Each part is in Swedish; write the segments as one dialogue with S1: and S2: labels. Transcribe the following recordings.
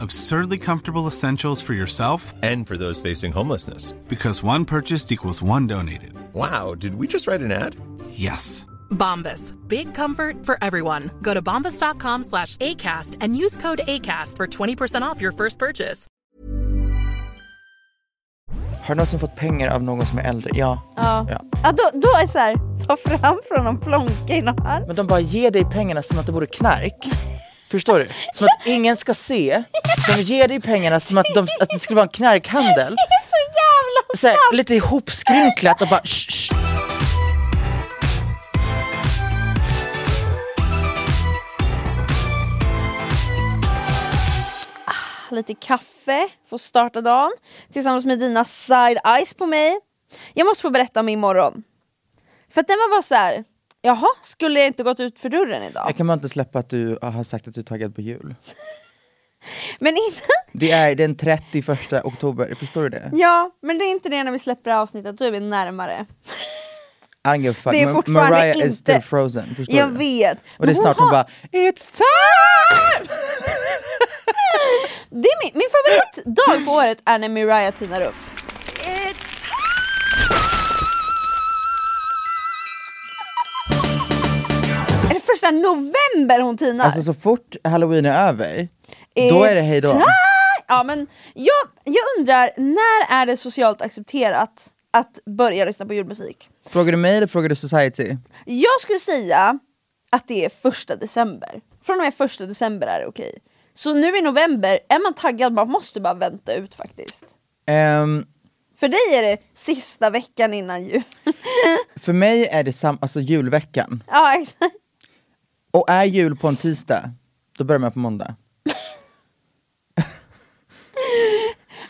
S1: Absurdly comfortable essentials for yourself
S2: And for those facing homelessness.
S1: because one purchased equals one donated.
S2: Wow, did we just write an ad?
S1: Yes.
S3: Bombas. Big comfort for everyone. Go to bombas.com slash ACAST and use code ACAST for 20% off your first purchase.
S4: Har du någonsin fått pengar av någon som är äldre? Ja.
S5: Ja.
S4: ja.
S5: Ja, då, då är det så här, ta fram från någon plånka i någon hand.
S4: Men de bara ger dig pengarna som att det vore knark. Förstår du? Som att ingen ska se. De ger dig pengarna som att, de, att det skulle vara en knarkhandel.
S5: Det är så jävla
S4: Så här,
S5: sant!
S4: lite ihopskrynklat och bara shh, shh.
S5: Lite kaffe, får starta dagen tillsammans med dina side eyes på mig. Jag måste få berätta om min morgon. För att den var bara så här. jaha, skulle jag inte gått ut för dörren idag?
S4: Jag kan bara inte släppa att du har sagt att du är taggad på jul.
S5: Men innan
S4: Det är den 31 oktober, förstår du det?
S5: Ja, men det är inte det när vi släpper det här avsnittet, då är vi närmare.
S4: I don't give a fuck.
S5: Det är
S4: Ma-
S5: fortfarande
S4: Mariah
S5: inte-
S4: is still frozen, förstår
S5: jag
S4: du?
S5: vet.
S4: Och det är
S5: Men
S4: snart hon
S5: har-
S4: bara It's time!
S5: Det är min, min favoritdag på året är när Mariah tinar upp. Är det första november hon tinar?
S4: Alltså så fort halloween är över,
S5: It's
S4: då är det hejdå.
S5: time! Ja, men jag, jag undrar, när är det socialt accepterat att börja lyssna på julmusik?
S4: Frågar du mig eller frågar du society?
S5: Jag skulle säga att det är första december. Från och med första december är det okej. Så nu i november, är man taggad, man måste bara vänta ut faktiskt.
S4: Ehm,
S5: För dig är det sista veckan innan jul.
S4: för mig är det sam- alltså julveckan.
S5: ja, exakt.
S4: Och är jul på en tisdag, då börjar man på måndag.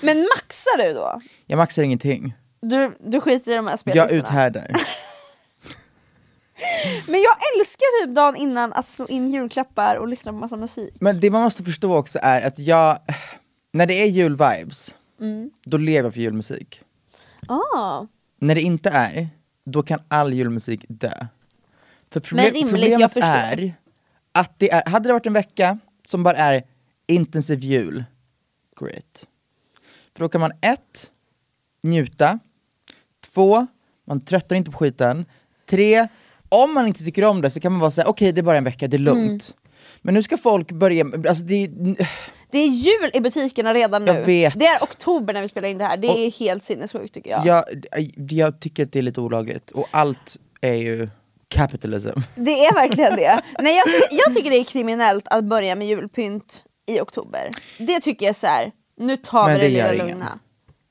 S5: Men maxar du då?
S4: Jag maxar ingenting.
S5: Du, du skiter i de här spellistorna?
S4: Jag uthärdar.
S5: Men jag älskar typ dagen innan att slå in julklappar och lyssna på massa musik.
S4: Men det man måste förstå också är att jag, när det är julvibes, då lever jag för julmusik.
S5: Ah.
S4: När det inte är, då kan all julmusik dö. För proble-
S5: Men rimligt, jag
S4: problemet
S5: förstår.
S4: är att det är, hade det varit en vecka som bara är intensiv jul, great. För då kan man ett, njuta, två, man tröttnar inte på skiten, tre, om man inte tycker om det så kan man vara såhär, okej det är bara en vecka, det är lugnt.
S5: Mm.
S4: Men nu ska folk börja, alltså det är,
S5: Det är jul i butikerna redan nu.
S4: Jag vet.
S5: Det är oktober när vi spelar in det här, det
S4: Och-
S5: är helt sinnessjukt tycker jag.
S4: jag, jag tycker att det är lite olagligt och allt är ju capitalism.
S5: Det är verkligen det. Nej, jag, ty- jag tycker det är kriminellt att börja med julpynt i oktober. Det tycker jag är så här. nu tar
S4: Men
S5: vi det,
S4: det
S5: lilla
S4: gör ingen.
S5: lugna.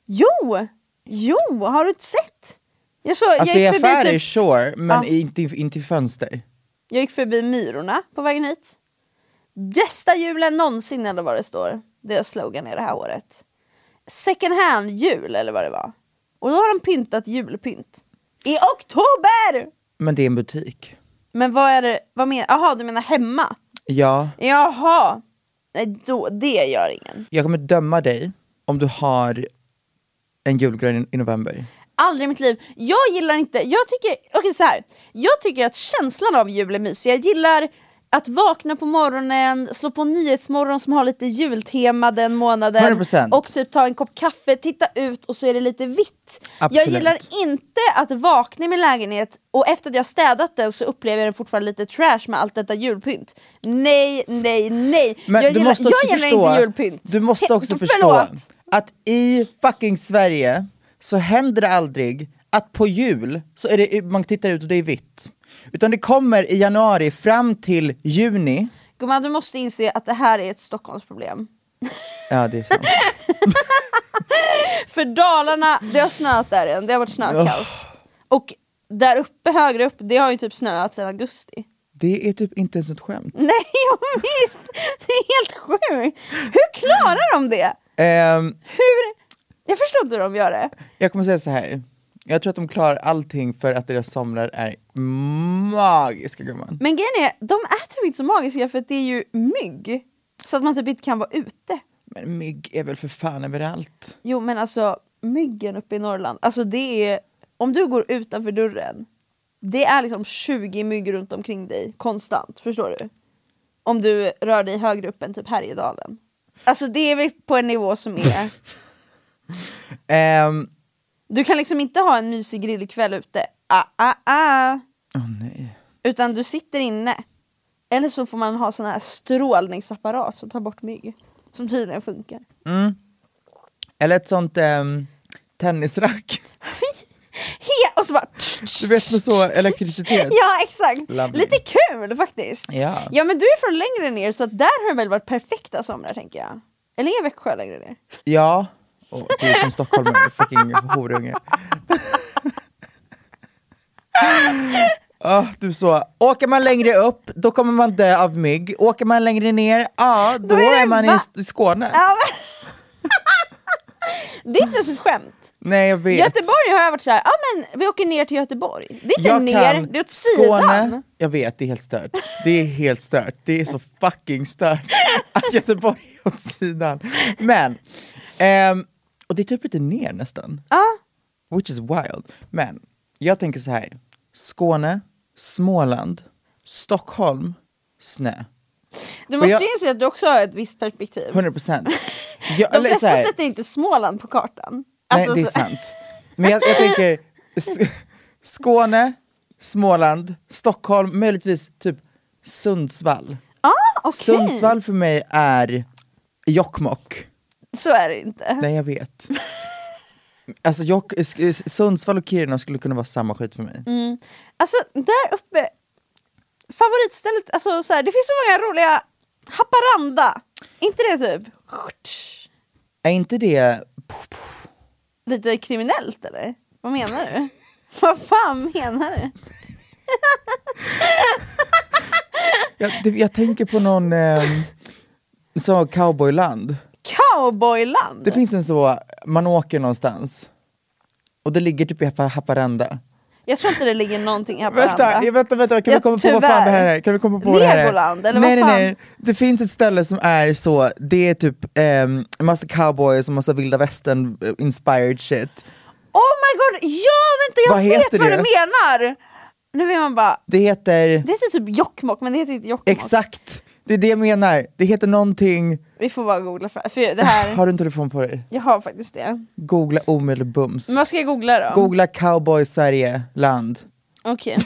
S5: Jo! Jo, har du inte sett? Jag, såg,
S4: Alltså i
S5: jag, gick förbi
S4: affärer,
S5: typ,
S4: sure, men
S5: Ja.
S4: inte, inte i fönster.
S5: jag gick förbi Myrorna på vägen hit. Bästa julen någonsin eller vad det står. Deras slogan är det här året. Second hand-jul eller vad det var. Och då har de pyntat julpynt. I oktober!
S4: Men det är en butik.
S5: Men vad är det, vad menar, jaha du menar hemma?
S4: Ja,
S5: Jaha. Nej, då, det gör ingen.
S4: jag kommer döma dig om du har en julgran i- i november.
S5: Aldrig i mitt liv. Jag gillar inte, jag tycker, okej så här. Jag tycker att känslan av jul är mysig. Jag gillar Att vakna på morgonen, slå på Nyhetsmorgon som har lite jultema den månaden
S4: 100%.
S5: och typ ta en kopp kaffe, titta ut och så är det lite vitt.
S4: Absolut.
S5: Jag gillar inte att vakna i min lägenhet och efter att jag städat den så upplever jag den fortfarande lite trash med allt detta julpynt. Nej, nej, nej.
S4: Men
S5: jag
S4: du
S5: gillar,
S4: måste också
S5: jag gillar
S4: förstå,
S5: inte julpynt.
S4: Du måste
S5: He-
S4: också förstå
S5: förlåt.
S4: att i fucking Sverige så händer det aldrig att på jul så är det, man tittar ut och det är vitt. Utan det kommer i januari fram till juni.
S5: Gumman, du måste inse att det här är ett Stockholmsproblem.
S4: Ja, det är sant.
S5: För Dalarna, det har snöat där än, det har varit snökaos. Och där uppe, högre upp, det har ju typ snöat sedan augusti.
S4: Det är typ inte ens ett skämt.
S5: Nej, jag visst! Det är helt sjukt! Hur klarar de det?
S4: Ehm,
S5: Hur? Jag förstår inte hur de gör det.
S4: jag kommer säga så här. jag tror att de klarar allting för att deras somrar är magiska gumman.
S5: Men grejen är, de är typ inte så magiska för att det är ju mygg. Så att man typ inte kan vara ute.
S4: Men mygg är väl för fan överallt?
S5: Jo men alltså, myggen uppe i Norrland, alltså det är... Om du går utanför dörren, det är liksom 20 mygg runt omkring dig konstant, förstår du? Om du rör dig högre upp än typ Härjedalen. Alltså det är väl på en nivå som är...
S4: Ehm,
S5: Du kan liksom inte ha en mysig grillkväll ute, ah, ah, ah.
S4: Åh nej.
S5: utan du sitter inne. Eller så får man ha sån här strålningsapparat som tar bort mygg. Som tydligen funkar.
S4: Eller ett sånt ehm, tennisrack.
S5: He- och så bara...
S4: Du vet med så elektricitet.
S5: Ja exakt,
S4: Lovely.
S5: lite kul faktiskt.
S4: Ja.
S5: ja men du är från längre ner så att där har det väl varit perfekta somrar tänker jag. Eller är Växjö längre ner?
S4: Ja. Åh, du är som stockholmare, fucking horunge. Åh, du så. Åker man längre upp, då kommer man dö av mygg. Åker man längre ner, ja, då,
S5: är det
S4: är man i,
S5: va-
S4: i Skåne.
S5: Ja, men- det är inte ens ett skämt.
S4: Nej, jag vet.
S5: Göteborg har jag varit såhär, ja men vi åker ner till Göteborg. Det är inte
S4: jag
S5: ner,
S4: kan
S5: det är åt sidan.
S4: Skåne. Jag vet, det är helt stört. Det är helt stört. Det är så fucking stört att Göteborg är åt sidan. Men, ehm, och det är typ lite ner nästan. Which is wild. Men jag tänker så här. Skåne, Småland, Stockholm, snö.
S5: Du måste
S4: jag-
S5: ju inse att du också har ett visst perspektiv.
S4: 100 procent. Jag,
S5: De
S4: eller så
S5: flesta
S4: här,
S5: sätter inte Småland på kartan.
S4: nej,
S5: Alltså,
S4: det är
S5: så-
S4: sant. Men jag, jag tänker S- Skåne, Småland, Stockholm, möjligtvis typ Sundsvall.
S5: Ah, okej.
S4: Sundsvall för mig är Jokkmokk.
S5: Så är det inte.
S4: Nej jag vet. Alltså Jok- sk- Sundsvall och Kiruna skulle kunna vara samma skit för mig.
S5: Alltså där uppe, favoritstället, alltså så här, det finns så många roliga, Haparanda, inte det typ?
S4: Är inte det...
S5: Lite kriminellt eller? Vad menar du? Vad fan menar du?
S4: Jag, det, jag tänker på någon ehm, så cowboyland.
S5: Cowboyland?
S4: Det finns en så, man åker någonstans. Och det ligger typ i Hapa- Haparanda.
S5: Jag tror inte det ligger någonting i Haparanda.
S4: Vänta, jag- vänta, vänta, kan
S5: Ja,
S4: vi komma på vad fan det här
S5: tyvärr.
S4: är? Kan vi komma på vad det här är?
S5: Legoland, eller
S4: nej,
S5: vad
S4: nej, nej. Det finns ett ställe som är så, det är typ ehm, en massa cowboys och massa vilda västern eh, inspired shit.
S5: Oh my god, ja vänta jag
S4: Vad
S5: vet
S4: heter
S5: vad
S4: det?
S5: du menar! Nu vill man bara,
S4: Det heter,
S5: det heter typ Jokkmokk men det heter inte Jokkmokk.
S4: exakt, det är det jag menar. Det heter någonting,
S5: Vi får bara googla för, för det här,
S4: har du en telefon på dig?
S5: jag har faktiskt det.
S4: Googla omedelbums.
S5: Men vad ska jag googla då?
S4: Googla cowboy Sverige land.
S5: Okej.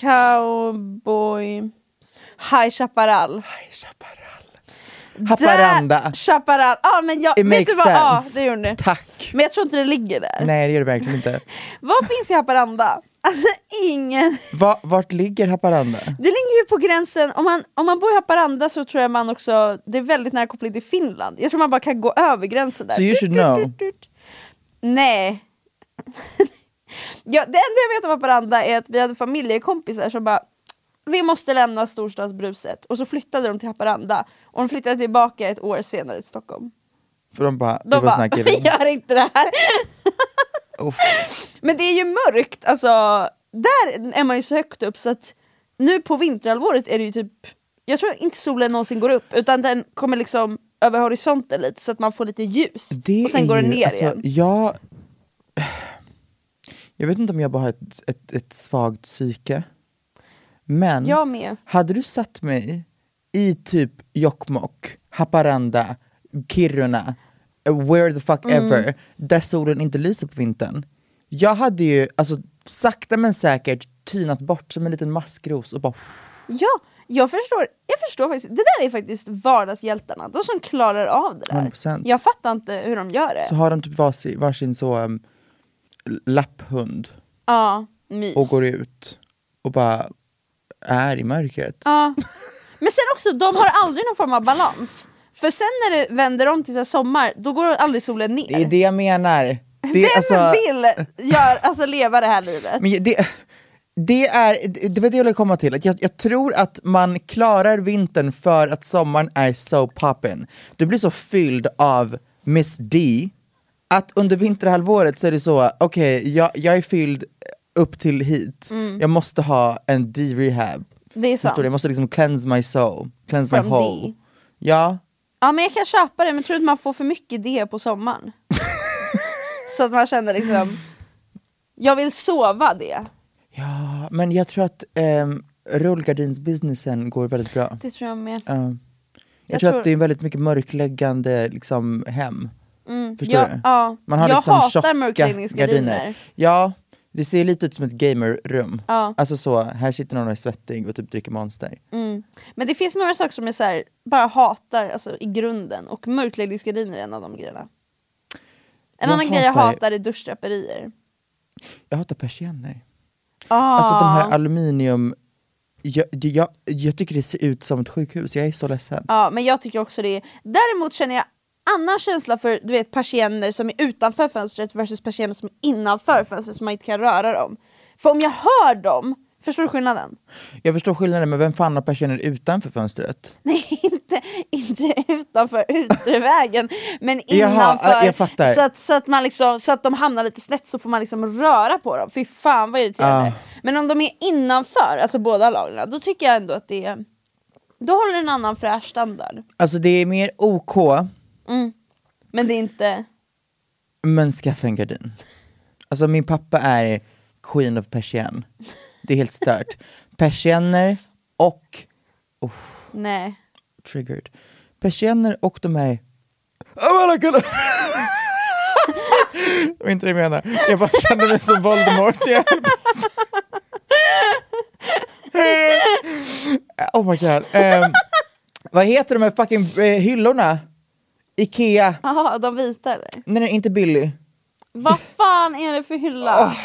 S5: Cowboy... High Chaparral.
S4: Haparanda.
S5: Där, Chaparral. Ah, men
S4: It
S5: jag, vet
S4: makes
S5: du vad? Ja,
S4: sense.
S5: det gjorde det.
S4: Tack.
S5: Men jag tror inte det ligger där.
S4: Nej det gör det verkligen inte.
S5: Vad finns i Haparanda? Alltså ingen.
S4: Va, vart ligger Haparanda?
S5: Det ligger ju på gränsen, om man, om man bor i Haparanda så tror jag man också, det är väldigt nära koppling till Finland. Jag tror man bara kan gå över gränsen där.
S4: So you should know.
S5: Nej. ja, det enda jag vet om Haparanda är att vi hade familjekompisar som bara vi måste lämna storstadsbruset och så flyttade de till Haparanda och de flyttade tillbaka ett år senare till Stockholm.
S4: För de bara, det
S5: De
S4: var
S5: bara,
S4: snackar
S5: vi gör inte det här.
S4: Uff.
S5: Men det är ju mörkt, alltså där är man ju så högt upp så att nu på vinterhalvåret är det ju typ, jag tror inte solen någonsin går upp utan den kommer liksom över horisonten lite så att man får lite ljus
S4: Det
S5: och sen
S4: är
S5: går den
S4: ju-
S5: ner
S4: alltså,
S5: igen.
S4: Jag, jag vet inte om jag bara har ett, ett, ett svagt psyke. Men
S5: Jag med.
S4: hade du satt mig i typ Jokkmokk, Haparanda, Kiruna, eh, where the fuck
S5: Mm.
S4: ever, där solen inte lyser på vintern. Jag hade ju alltså, sakta men säkert tynat bort som en liten maskros och bara
S5: Ja, jag förstår, jag förstår faktiskt. Det där är faktiskt vardagshjältarna, de som klarar av det där.
S4: 100%.
S5: Jag fattar inte hur de gör det.
S4: så har de typ varsin, varsin så um, lapphund
S5: Ja, mys.
S4: och går ut och bara är i mörkret.
S5: Ja. Men sen också, de har aldrig någon form av balans. För sen när det vänder om till så här sommar, då går aldrig solen ner.
S4: Det är det jag menar. Det,
S5: Vem
S4: är alltså-
S5: vill gör, alltså, leva det här livet?
S4: Men det, det, är, det var det jag ville komma till, att jag, jag tror att man klarar vintern för att sommaren är so poppin. Du blir så fylld av Miss D att under vinterhalvåret så är det så, okej jag, jag är fylld upp till hit, jag måste ha en D-rehab.
S5: Mm. Det är sant.
S4: Förstår du? Jag måste liksom cleanse my soul, cleanse
S5: From
S4: my
S5: D.
S4: whole. Ja,
S5: Ja men jag kan köpa det, men tror du att man får för mycket det på sommaren? så att man känner liksom, jag vill sova det.
S4: ja, men jag tror att um, rullgardinsbusinessen går väldigt bra.
S5: Det tror jag med.
S4: Ja. jag,
S5: Jag
S4: tror,
S5: tror-
S4: att det är väldigt mycket mörkläggande liksom, hem. Förstår
S5: Ja,
S4: du?
S5: ja.
S4: Man har
S5: Jag
S4: liksom
S5: hatar
S4: tjocka
S5: mörkläggningsgardiner.
S4: gardiner. Ja, det ser lite ut som ett gamerrum.
S5: Ja. Mm.
S4: Alltså så, här sitter någon och är svettig och typ dricker monster.
S5: Men det finns några saker som jag så här, bara hatar alltså, i grunden, och mörkläggningsgardiner är en av de grejerna. En
S4: Jag
S5: annan grej jag
S4: hatar-
S5: hatar är duschdraperier.
S4: Jag hatar persienner.
S5: Ah.
S4: Alltså de här aluminium... Jag, det- jag, jag tycker det ser ut som ett sjukhus, jag är så ledsen.
S5: Ja, men jag tycker också det. Däremot känner jag annan känsla för du vet, persienner som är utanför fönstret versus persienner som är innanför fönstret som man inte kan röra dem. För om jag hör dem, förstår du skillnaden?
S4: Jag förstår skillnaden, men vem fan har persienner utanför fönstret?
S5: Nej, inte, inte utanför utevägen, men
S4: Jaha,
S5: innanför.
S4: ja, jag fattar.
S5: Så, att, så, att man liksom, så att de hamnar lite snett så får man liksom röra på dem. Fy fan vad irriterande.
S4: Ah.
S5: Men om de är innanför, alltså båda lagren, då tycker jag ändå att det är... Då håller en annan fräsch standard.
S4: Alltså det är mer OK
S5: Men det är inte...
S4: Men skaffa en gardin. Alltså min pappa är queen of persien. Det är helt stört. Persienner och,
S5: Nej.
S4: triggered, persienner och de här... Oh, alla kolla! Det var inte det jag menar. Jag bara kände mig som Voldemort. Jag höll på att säga. oh my god. Ehm, vad heter de här fucking eh, hyllorna? Ikea?
S5: Jaha, de vita eller?
S4: Nej, nej, inte Billy.
S5: Vad fan är det för hylla?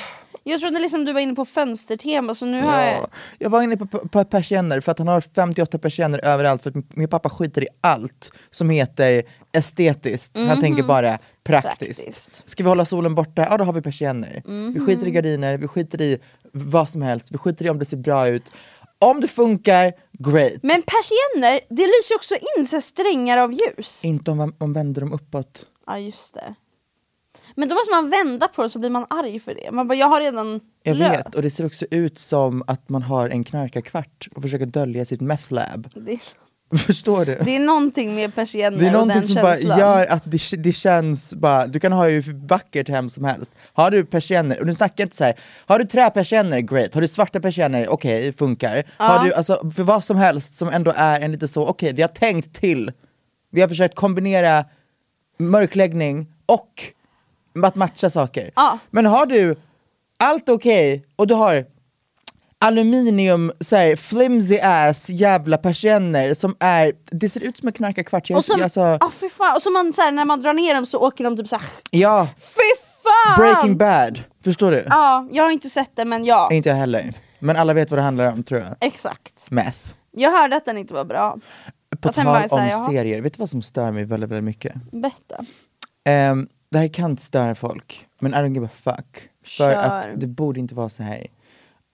S5: Jag trodde liksom du var inne på fönstertema så nu har
S4: Ah. Ja.
S5: jag...
S4: Jag var inne på, på, på persienner för att han har 58 persienner överallt för att min, min pappa skiter i allt som heter estetiskt. Han tänker bara praktiskt.
S5: Mhm. Praktiskt. Mhm.
S4: Ska vi hålla solen borta? Ja, då har vi persienner. Vi skiter i gardiner, vi skiter i vad som helst, vi skiter i om det ser bra ut. Om det funkar, great.
S5: Men persienner, det lyser ju också in så här strängar av ljus.
S4: Inte om man, man vänder dem uppåt.
S5: Ja just det. Men då måste man vända på det så blir man arg för det. Man bara, jag har redan
S4: Jag
S5: lö-
S4: vet, och det ser också ut som att man har en knarkarkvart och försöker dölja sitt meth lab.
S5: Det är,
S4: Förstår du?
S5: det är någonting med persienner
S4: Det är
S5: och den
S4: någonting som bara
S5: känslan.
S4: gör att det, det känns bara, du kan ha ju hur vackert hem som helst. Har du persienner, och nu snackar jag inte så här. har du träpersienner, great. Har du svarta persienner, okej, funkar. Har du, alltså, för vad som helst som ändå är en lite så, okej, vi har tänkt till. Vi har försökt kombinera mörkläggning och att matcha saker.
S5: Ja.
S4: Men har du allt okej och du har aluminium, så här, flimsy ass jävla persienner som är, det ser ut som en knarkarkvart. Jag-
S5: Och som,
S4: jag- alltså,
S5: ah, fy fan. Och som man, så här, när man drar ner dem så åker de typ såhär,
S4: ja,
S5: fy fan! Ah.
S4: breaking bad, förstår du?
S5: Ja, jag har inte sett det men ja,
S4: Inte jag heller. Men alla vet vad det handlar om tror jag.
S5: exakt.
S4: Meth.
S5: Jag hörde att den inte var bra.
S4: På
S5: Och sen
S4: tal
S5: bara så här,
S4: om
S5: jaha.
S4: serier, vet du vad som stör mig väldigt, väldigt mycket?
S5: Berätta.
S4: Ehm, det här kan störa folk, men I don't give a fuck. För
S5: Kör.
S4: att det borde inte vara så här.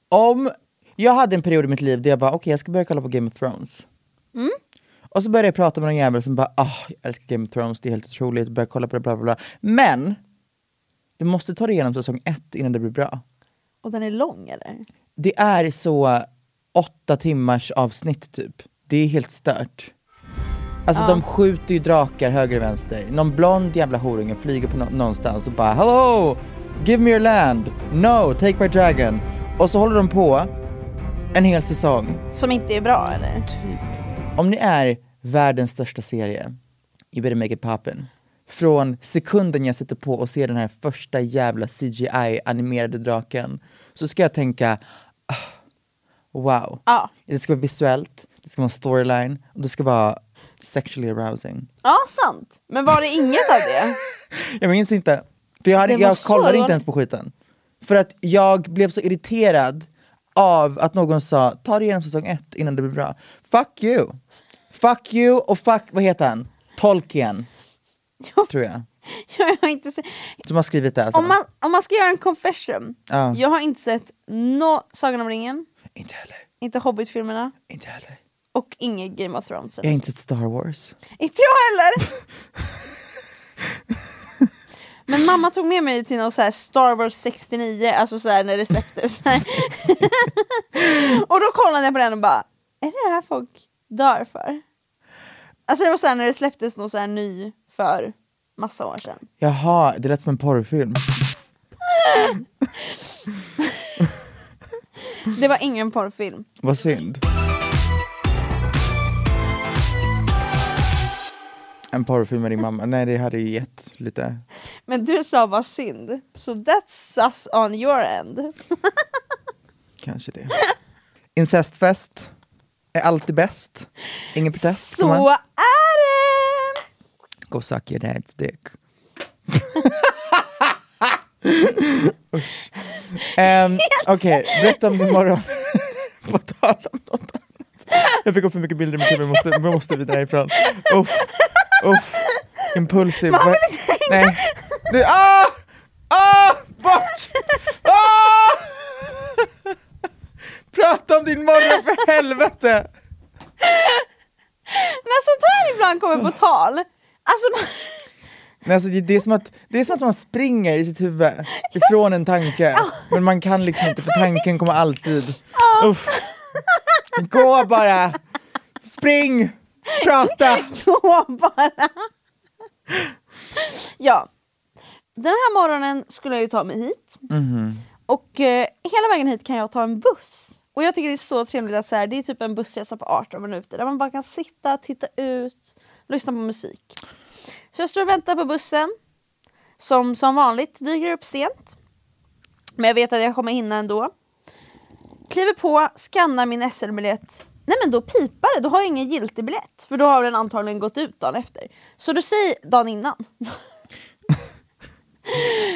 S4: Om, jag hade en period i mitt liv där jag bara, okej jag ska börja kolla på Game of Thrones. Och så började jag prata med någon jävel som bara, ah, jag älskar Game of Thrones, det är helt otroligt, började kolla på det, bla bla bla. Men, du måste ta dig igenom säsong ett innan det blir bra.
S5: Och den är lång eller?
S4: Det är så åtta timmars avsnitt typ. Det är helt stört. Alltså de skjuter ju drakar höger och vänster. Någon blond jävla horunge flyger på nå- någonstans och bara Hello! Give me your land! No! Take my dragon! Och så håller de på. en hel säsong.
S5: Som inte är bra eller?
S4: Typ. Om ni är världens största serie, you better make it poppin. Från sekunden jag sätter på och ser den här första jävla CGI-animerade draken så ska jag tänka "Ah, wow.
S5: Ja.
S4: Det ska vara visuellt, det ska vara en storyline och det ska vara sexually arousing.
S5: Ja, sant. Men var det inget av det?
S4: Jag minns inte, för jag, hade,
S5: Det var
S4: jag
S5: så
S4: kollade
S5: dåligt.
S4: inte ens på skiten. För att jag blev så irriterad av att någon sa ta dig igenom säsong ett innan det blir bra. Fuck you! Fuck you och fuck, vad heter han? Tolkien, tror jag.
S5: Jag har inte sett...
S4: Som har skrivit det alltså.
S5: Om man, om man ska göra en confession,
S4: Ja.
S5: jag har inte sett no Sagan om ringen,
S4: Inte heller,
S5: inte Hobbit-filmerna
S4: inte heller.
S5: och inget Game of Thrones.
S4: Jag har inte sett Star Wars.
S5: Inte jag heller! Men mamma tog med mig till någon så här Star Wars 69, alltså så här när det släpptes. och då kollade jag på den och bara, är det det här folk dör för? Alltså det var så här när det släpptes någon så här ny för massa år sedan.
S4: Jaha, det lät som en porrfilm.
S5: Det var ingen porrfilm.
S4: Vad synd. En porrfilm med din mamma, nej det hade ju gett lite
S5: Men du sa vad synd, så that's sus on your end.
S4: Kanske det. Incestfest är alltid bäst. Ingen protest.
S5: Så
S4: kan man-
S5: är det!
S4: Go suck your dad's dick. Usch. Ehm, Okej, berätta om din morgon. På tal om något annat. Jag fick upp för mycket bilder i mitt huvud, vi måste, vi måste vidare härifrån. Uff, uff. Impulsiv.
S5: Man vill
S4: Vad-
S5: inte hänga.
S4: Nej. Du, ah! Ah! Bort! Ah! Prata om din morgon för helvete!
S5: När sånt här ibland kommer på tal, alltså man,
S4: Nej, alltså det, det, är som att, det är som att man springer i sitt huvud ifrån en tanke, men man kan liksom inte för tanken kommer alltid. Uff. Gå bara! Spring! Prata!
S5: gå bara. Ja. Den här morgonen skulle jag ju ta mig hit. Och eh, hela vägen hit kan jag ta en buss. Och jag tycker det är så trevligt att så här, det är typ en bussresa på 18 minuter där man bara kan sitta, titta ut, lyssna på musik. Så jag står och väntar på bussen. Som som vanligt dyker upp sent. Men jag vet att jag kommer hinna ändå. Kliver på, skannar min SL-biljett. Nej men då pipar det, då har jag ingen giltig biljett. För då har den antagligen gått ut dagen efter. Så då säger dagen innan.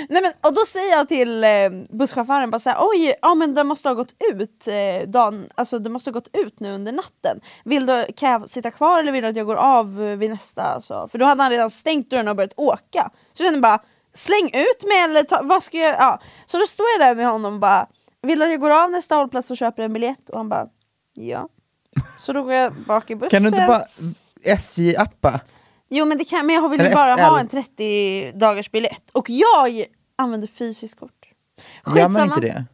S5: Nej, men, och då säger jag till eh, busschauffören bara så här, oj, ja men den måste ha gått ut eh, dagen, alltså den måste ha gått ut nu under natten. Vill du, kan jag sitta kvar eller vill du att jag går av eh, vid nästa? Alltså? För då hade han redan stängt dörren och börjat åka. Så den bara, släng ut mig eller ta, vad ska jag, ja. Så då står jag där med honom och bara, vill du att jag går av nästa hållplats och köper en biljett? Och han bara, ja. Så då går jag bak i bussen.
S4: Kan du inte bara SJ-appa?
S5: Jo men, det kan, men jag ville
S4: Eller
S5: bara
S4: XL.
S5: ha en 30 dagars biljett och jag använder fysiskt kort.
S4: Gör man inte det?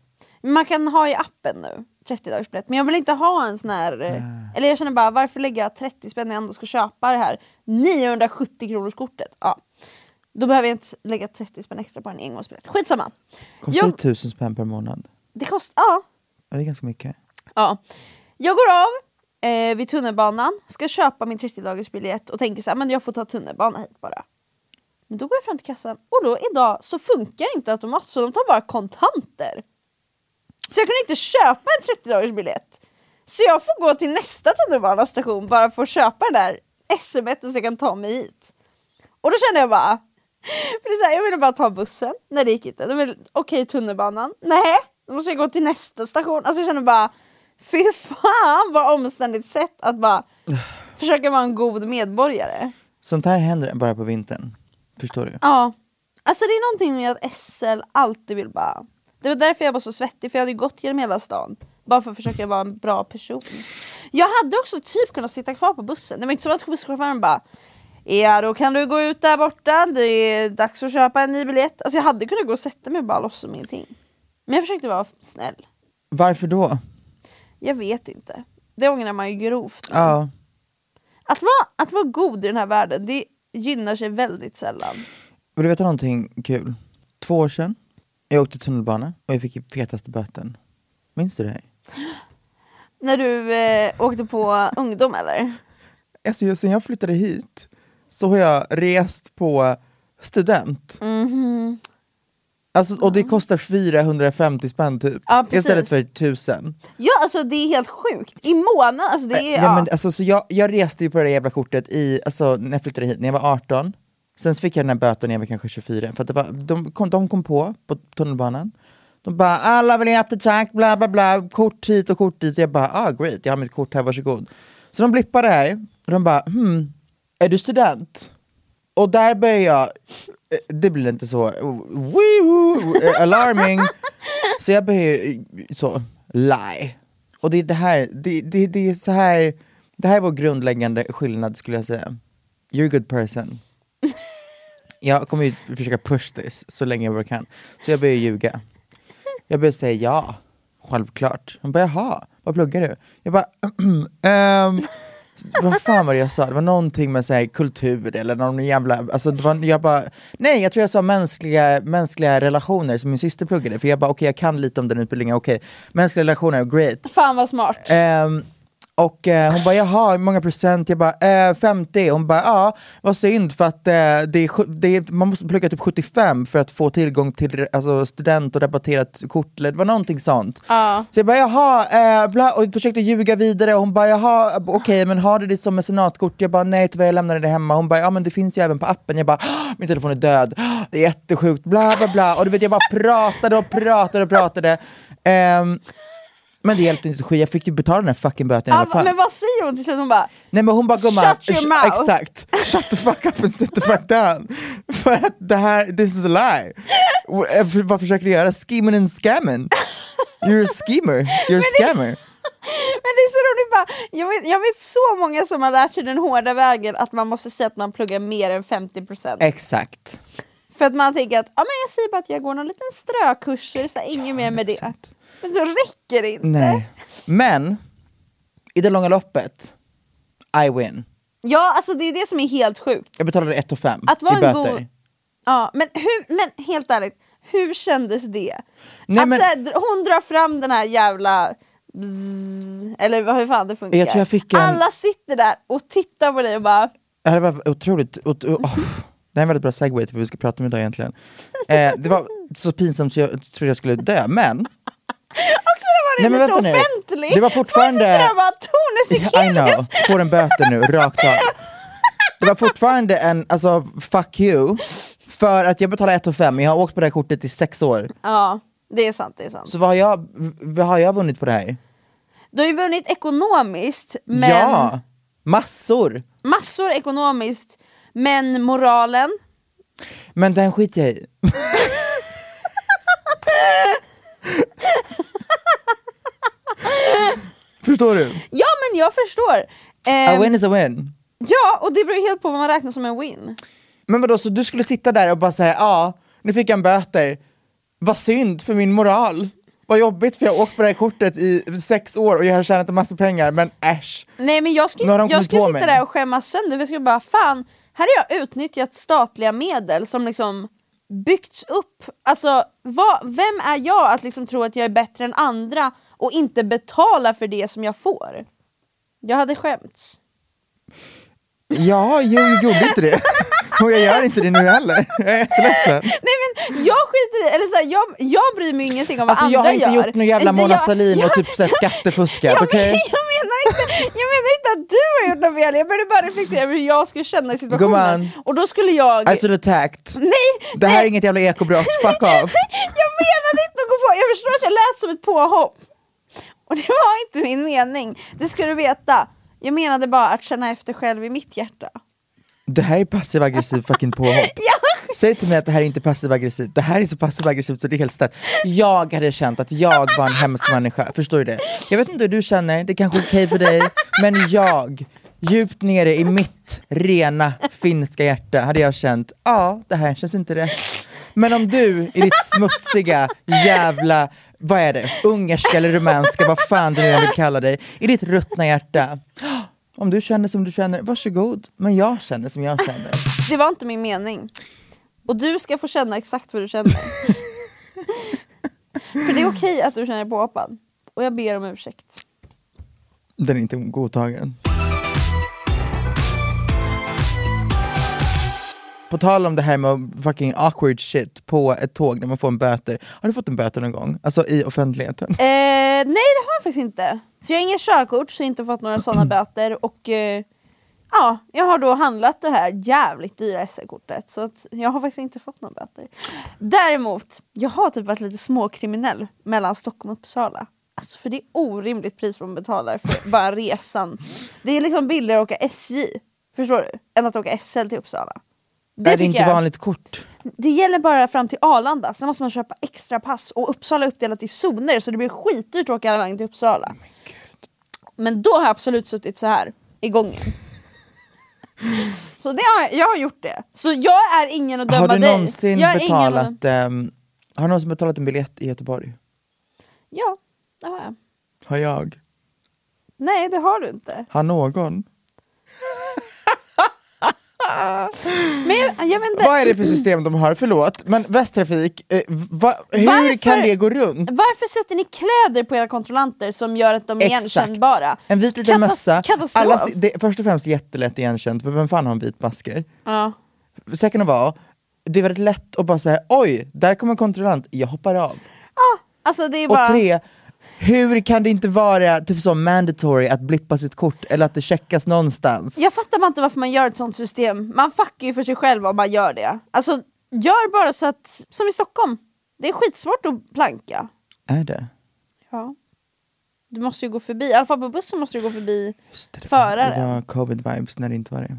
S5: Man kan ha i appen nu, 30 dagars biljett. Men jag vill inte ha en sån här... eh,
S4: Ah.
S5: Eller jag känner bara, varför lägga 30 spänn när jag ändå ska köpa det här 970 kronors kortet? Ja. Då behöver jag inte lägga 30 spänn extra på en engångsbiljett. Skitsamma.
S4: Kostar det
S5: Jag,
S4: tusen spänn per månad?
S5: det kostar... Ja.
S4: Ja, det är ganska mycket.
S5: Ja. Jag går av eh, vid tunnelbanan, ska köpa min 30 dagars biljett och tänker så här, men jag får ta tunnelbana hit bara. Men då går jag fram till kassan och då idag så funkar inte automat så de tar bara kontanter. Så jag kunde inte köpa en 30 dagars biljett. Så jag får gå till nästa tunnelbanestation bara för att köpa den där SMET så jag kan ta mig hit. Och då kände jag bara, för det är så här, jag ville bara ta bussen, nej det gick inte. Det var- Okej, tunnelbanan, nej, då måste jag gå till nästa station. Alltså jag kände bara, fy fan vad omständigt sätt att bara försöka vara en god medborgare.
S4: Sånt här händer bara på vintern. Förstår du?
S5: Ja, alltså det är någonting med att SL alltid vill bara, det var därför jag var så svettig för jag hade ju gått genom hela stan. Bara för att försöka vara en bra person. Jag hade också typ kunnat sitta kvar på bussen, det var inte som att busschauffören bara Ja då kan du gå ut där borta, det är dags att köpa en ny biljett. Alltså jag hade kunnat gå och sätta mig och bara låtsas som ingenting. Men jag försökte vara snäll.
S4: Varför då?
S5: Jag vet inte. Det ångrar man ju grovt.
S4: Ja.
S5: Att vara, att vara god i den här världen, det gynnar sig väldigt sällan.
S4: Vill du veta någonting kul? Två år sedan, jag åkte tunnelbana och jag fick fetaste böten. Minns du det här?
S5: när du eh, åkte på ungdom eller?
S4: Alltså, jag- sen jag flyttade hit så har jag rest på student.
S5: Mm-hmm.
S4: Alltså, och det kostar 450 spänn typ,
S5: Ja, precis.
S4: istället för 1000.
S5: Ja alltså det är helt sjukt, i månaden alltså det är...
S4: Nej,
S5: ja.
S4: men, alltså, så jag, jag reste ju på det där jävla kortet i, alltså, när jag flyttade hit, när jag var 18. Sen så fick jag den här böten när jag var kanske 24, för att det var, de, kom, de kom på, på tunnelbanan. De bara alla biljetter tack, bla bla bla, kort hit och kort dit. Jag bara ah great, jag har mitt kort här, varsågod. Så de blippar det här och de bara hmm, är du student? Och där börjar jag, eh, det blir inte så woo, eh, alarming. Så jag börjar ju, eh, så, lie. Och det är det här, det, det, det är så här, det här är vår grundläggande skillnad skulle jag säga. You're a good person. Jag kommer ju försöka push this så länge jag bara kan. Så jag börjar ljuga. Jag börjar säga ja, självklart. Hon bara jaha, vad pluggar du? Jag bara ehm, vad fan var det jag sa? Det var någonting med så här, kultur eller någon jävla, alltså det var, jag bara, nej jag tror jag sa mänskliga, mänskliga relationer som min syster pluggade, för jag bara okej jag kan lite om den utbildningen, okej, mänskliga relationer, great.
S5: Fan vad smart.
S4: Ehm, och eh, hon bara, jaha, hur många procent? Jag bara, eh, 50. Hon bara, ja, vad synd för att eh, det är, sju- det är, man måste plugga typ 75 för att få tillgång till alltså, student och rabatterat kort. Eller Det var någonting sånt. Så jag bara, jaha, eh, bla, och jag försökte ljuga vidare. Hon bara, jaha, okej, men har du ditt som mecenatkort? Jag bara, nej tyvärr, jag lämnade det hemma. Hon bara, ja men det finns ju även på appen. Jag bara, "Ah, min telefon är död, Ah, det är jättesjukt, bla bla bla. Och du vet, jag bara pratade och pratade och pratade. Ehm, men det hjälpte inte så skit, jag fick ju betala den här fucking böten i alla
S5: Ja,
S4: fall.
S5: Ah, men vad säger hon till slut? Hon bara
S4: Nej men hon bara gumman,
S5: Shut your
S4: sh-
S5: mouth."
S4: exakt, shut the fuck up and sit the fuck down. För att det här, this is a lie. Och, eh, för- Vad försöker du göra? Scheming and scamming. You're a schemer, you're a scammer.
S5: Men det är så roligt, bara, jag, vet, jag vet så många som har lärt sig den hårda vägen att man måste säga att man pluggar mer än 50%
S4: Exakt.
S5: För att man tänker att ja, men jag säger bara att jag går någon liten strökurser, så här, inget mer med det Men då räcker det inte
S4: Nej. Men, i det långa loppet, I win.
S5: Ja alltså det är ju det som är helt sjukt
S4: Jag betalade 1 5
S5: Att vara
S4: i
S5: en
S4: böter.
S5: god... Ja, men, hur, men helt ärligt, hur kändes det?
S4: Nej,
S5: att
S4: men-
S5: så här, dr- hon drar fram den här jävla... Bzzz, eller vad- hur fan det funkar.
S4: Jag tror jag fick en-
S5: Alla sitter där och tittar på dig och bara...
S4: Ja, det var otroligt... Ot oh, det här är en väldigt bra segway till vad vi ska prata om idag egentligen. Eh, det var så pinsamt så jag trodde jag skulle dö, men...
S5: Också när man
S4: Nej,
S5: är
S4: men vänta
S5: lite
S4: nu.
S5: offentlig!
S4: Det var fortfarande-
S5: Folk sitter där och bara Tone
S4: I know,
S5: Sekelius!
S4: får en böter nu, rakt av. Det var fortfarande en, alltså fuck you, för att jag betalar 1 5 jag har åkt på det här kortet i sex år.
S5: Ja, det är sant. Det är sant.
S4: Så vad har jag, vad har jag vunnit på det här?
S5: Du har ju vunnit ekonomiskt, men
S4: Ja, massor!
S5: massor ekonomiskt, men moralen.
S4: Men den skiter jag i. Förstår du?
S5: Ja, men jag förstår.
S4: A
S5: Ehm,
S4: win is a win.
S5: Ja, och det beror ju helt på vad man räknar som en win.
S4: Men vadå, så du skulle sitta där och bara säga ja, nu fick jag en böter, vad synd för min moral. Vad jobbigt för jag har åkt på det här kortet i sex år och jag har tjänat en massa pengar, men äsch.
S5: Nej men
S4: Nu
S5: jag
S4: har
S5: skulle,
S4: de
S5: jag
S4: kommit
S5: skulle
S4: på
S5: sitta
S4: mig.
S5: där och skämmas sönder, för jag skulle bara fan, här har jag utnyttjat statliga medel som liksom byggts upp. Alltså vad, vem är jag att liksom tro att jag är bättre än andra och inte betala för det som jag får? Jag hade skämts.
S4: Ja, jag gjorde inte det. Och jag gör inte det nu heller. Jag är jätteledsen.
S5: Nej men jag skiter i, eller så här, jag, jag bryr mig ingenting om vad
S4: Alltså
S5: andra
S4: jag har inte
S5: gör.
S4: gjort någon jävla
S5: Inte
S4: Mona
S5: jag-
S4: Sahlin och typ så här skattefuskat,
S5: jag,
S4: okej?
S5: men, jag, menar inte, jag menar inte att du har gjort något fel, jag började bara reflektera över hur jag skulle känna i situationen.
S4: Gumman.
S5: Och då skulle jag...
S4: I feel attacked.
S5: Nej!
S4: Det här
S5: nej.
S4: är inget jävla ekobrott, fuck off.
S5: Jag menade inte att gå på, jag förstår att jag lät som ett påhopp. Och det var inte min mening, det ska du veta. Jag menade bara att känna efter själv i mitt hjärta.
S4: Det här är passiv aggressiv fucking påhopp.
S5: Ja.
S4: Säg till mig att det här är inte passiv aggressivt, det här är så passiv aggressivt så det är helt stört. Jag hade känt att jag var en hemsk människa, förstår du det? Jag vet inte hur du känner, det är kanske är okej för dig, men jag, djupt nere i mitt rena finska hjärta hade jag känt, ja det här känns inte rätt. Men om du i ditt smutsiga jävla, vad är det, ungerska eller rumänska, vad fan du nu än vill kalla dig, i ditt ruttna hjärta, om du känner som du känner, varsågod, men jag känner som jag känner.
S5: Det var inte min mening. Och du ska få känna exakt vad du känner. För det är okej att du känner dig påhoppad. Och jag ber om ursäkt.
S4: Den är inte godtagen. På tal om det här med fucking awkward shit på ett tåg när man får en böter. Har du fått en böter någon gång? Alltså i offentligheten?
S5: Eh, nej det har jag faktiskt inte. Så jag har inget körkort så jag har inte fått några sådana böter och eh, ja, jag har då handlat det här jävligt dyra SL-kortet så att jag har faktiskt inte fått några böter. Däremot, jag har typ varit lite småkriminell mellan Stockholm och Uppsala. Alltså för det är orimligt pris man betalar för bara resan. Det är liksom billigare att åka SJ, förstår du? Än att åka SL till Uppsala.
S4: Det är det
S5: tycker
S4: inte
S5: jag.
S4: vanligt kort?
S5: Det gäller bara fram till Arlanda, sen måste man köpa extra pass och Uppsala är uppdelat i zoner så det blir skitdyrt att åka hela vägen till
S4: Oh
S5: Uppsala. Men då har jag absolut suttit så här i gången. så det har jag, jag har gjort det. Så jag är ingen att döma
S4: Har du
S5: dig.
S4: någonsin
S5: jag är ingen att
S4: betalat,
S5: döma-
S4: ehm, har du någonsin betalat en biljett i Göteborg?
S5: Ja, det har jag.
S4: Har jag?
S5: Nej det har du inte.
S4: Har någon?
S5: Men jag, jag vet inte.
S4: Vad är det för system de har? Förlåt, men Västtrafik, eh, va, hur
S5: Varför-
S4: kan det gå runt?
S5: Varför sätter ni kläder på era kontrollanter som gör att de är igenkännbara?
S4: En vit liten
S5: Katas-
S4: mössa.
S5: Katastrof.
S4: Alla, se- det, först och främst jättelätt igenkänt, för vem fan har en vit masker?
S5: ja.
S4: Second of all, det är väldigt lätt att bara säga oj, där kommer en kontrollant, jag hoppar av.
S5: Alltså det är
S4: Och
S5: bara...
S4: tre, hur kan det inte vara typ som mandatory att blippa sitt kort eller att det checkas någonstans?
S5: Jag fattar bara inte varför man gör ett sånt system. Man fuckar ju för sig själv om man gör det. Alltså, gör bara så att, som i Stockholm, det är skitsvårt att planka.
S4: Är det?
S5: Ja. Du måste ju gå förbi, i alla fall på bussen måste du gå förbi.
S4: Just det,
S5: Föraren.
S4: Det var covid-vibes när det inte var det.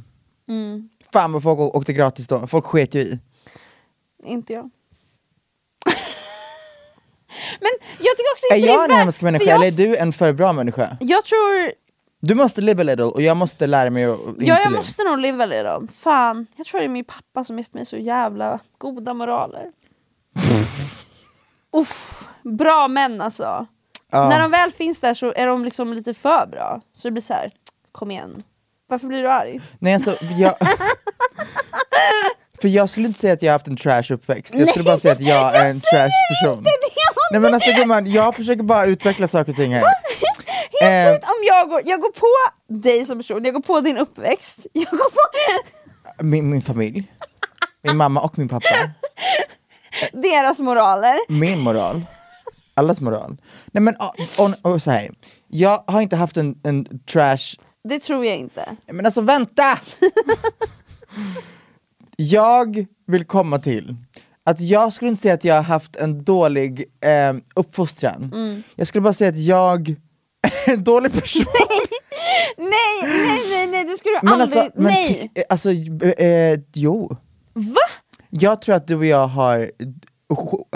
S5: Mm.
S4: Fan vad folk å- åkte gratis då, folk sket ju i.
S5: Inte jag. Men jag tycker också
S4: Är
S5: inte
S4: jag
S5: det
S4: en hemsk
S5: för
S4: människa
S5: jag,
S4: eller är du en för bra människa?
S5: Jag tror,
S4: Du måste live a little och jag måste lära mig att inte
S5: ja, jag
S4: leva.
S5: måste nog leva det då. Fan, jag tror det är min pappa som gett mig så jävla goda moraler. Uff, bra män alltså.
S4: Ja.
S5: När de väl finns där så är de liksom lite för bra. Så det blir så här, kom igen. Varför blir du arg?
S4: Nej alltså, jag... För jag skulle inte säga att jag har haft en trash uppväxt, jag skulle bara säga att jag, är en trash person. Nej men alltså gumman, jag försöker bara utveckla saker och ting här.
S5: Helt
S4: Eh.
S5: sjukt om jag går, jag går på dig som person, jag går på din uppväxt, jag går på...
S4: Min, min familj, min mamma och min pappa,
S5: deras moraler.
S4: min moral, allas moral. Nej men ah, on, oh, så här. jag har inte haft en, en trash
S5: Det tror jag inte.
S4: Men alltså vänta! jag vill komma till att jag skulle inte säga att jag har haft en dålig eh, uppfostran.
S5: Mm.
S4: Jag skulle bara säga att jag är en dålig person.
S5: Nej, nej, nej, nej det skulle du
S4: men
S5: aldrig...
S4: alltså, men
S5: nej!
S4: ty- eh, alltså eh, eh, jo.
S5: Va?
S4: Jag tror att du och jag har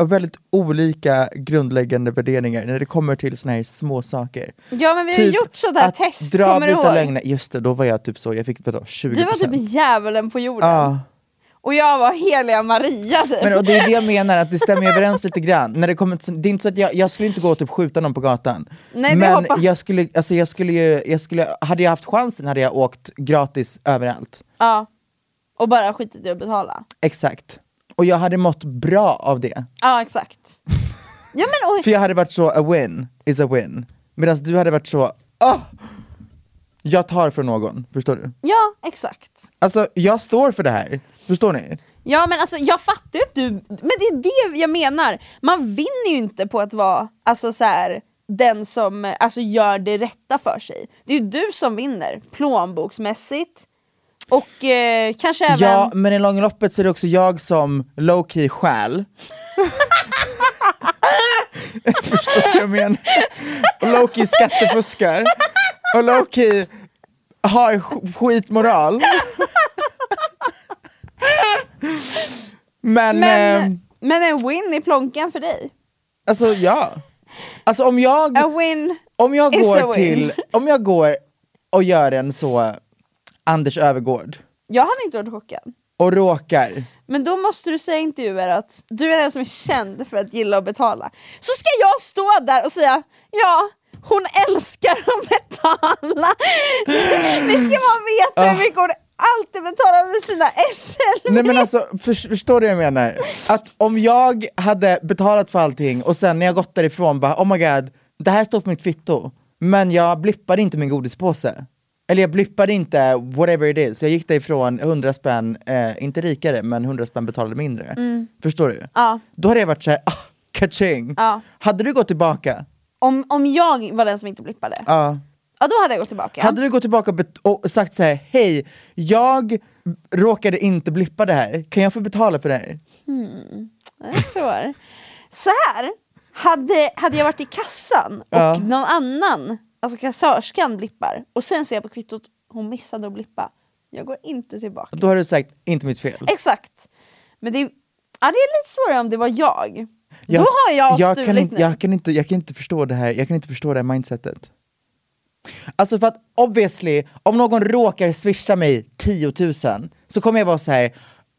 S4: eh, väldigt olika grundläggande värderingar när det kommer till såna här små saker.
S5: Ja men vi har gjort sådana här test,
S4: typ dra
S5: kommer du
S4: vita
S5: ihåg?
S4: lögner, just det, då var jag typ så, jag fick vadå, 20%.
S5: Du var typ djävulen på jorden.
S4: Ja.
S5: Och jag var heliga Maria typ.
S4: Men och det är det jag menar, att det stämmer överens lite grann. När det kommer till, det är inte så att jag, jag skulle inte gå och typ skjuta någon på gatan.
S5: Nej, det
S4: men
S5: hoppas-
S4: jag skulle, alltså jag skulle ju, jag skulle, hade jag haft chansen hade jag åkt gratis överallt.
S5: Ja. Och bara skitit i att betala.
S4: Exakt. Och jag hade mått bra av det.
S5: Ja exakt. Ja men och,
S4: För jag hade varit så, a win is a win. Medan du hade varit så, "Ah, jag tar från någon, förstår du?
S5: ja exakt.
S4: Alltså jag står för det här, förstår ni?
S5: Ja men alltså jag fattar ju att du, men det är det jag menar. Man vinner ju inte på att vara alltså, så här, den som eh, alltså, gör det rätta för sig. Det är ju du som vinner, plånboksmässigt. Och eh, kanske även...
S4: Ja, men i långa loppet så är det också jag som low-key stjäl. Förstår du vad jag menar? Och low-key skattefuskar. Och low-key har sk- skitmoral. men,
S5: men,
S4: Eh,
S5: men en win i plånkan för dig.
S4: alltså ja. Alltså om jag...
S5: A win.
S4: Om jag
S5: Oh, It's a
S4: går
S5: win.
S4: till... Om jag går och gör en så Anders Övergård
S5: Jag hade inte varit chockad.
S4: och råkar
S5: Men då måste du säga i intervjuer att du är den som är känd för att gilla att betala. Så ska jag stå där och säga ja, hon älskar att betala. Ni ska bara veta hur mycket hon alltid betalar för sina SL.
S4: Ah. Nej men alltså, förs- förstår du vad jag menar? Att om jag hade betalat för allting och sen när jag gått därifrån bara oh my god, det här står på mitt kvitto. Men jag blippade inte min godispåse. Eller jag blippade inte whatever it is. Jag gick därifrån 100 spänn, eh, inte rikare, men 100 spänn betalade mindre. Förstår du?
S5: Mm. Ja.
S4: Då hade jag varit såhär, ah, kaching.
S5: Ja.
S4: Hade du gått tillbaka?
S5: Om, om jag var den som inte blippade, ja.
S4: Ja.
S5: då hade jag gått tillbaka.
S4: Ah. Hade du gått tillbaka och, bet- och sagt så här: hej, jag råkade inte blippa det här, kan jag få betala för det här?
S5: Det är svår. Så här, hade, hade jag varit i kassan och
S4: Ja.
S5: någon annan, alltså kassörskan blippar och sen ser jag på kvittot, hon missade att blippa. Jag går inte tillbaka.
S4: Då har du sagt, inte mitt fel.
S5: Exakt. Men det, är- ja, det är lite svårare om det var jag.
S4: Jag,
S5: Då har jag,
S4: jag
S5: stulit
S4: kan inte,
S5: nu.
S4: jag kan, inte, jag kan inte förstå det här, jag kan inte förstå det här mindsetet. Alltså för att obviously, om någon råkar swisha mig 10 000 så kommer jag vara så här.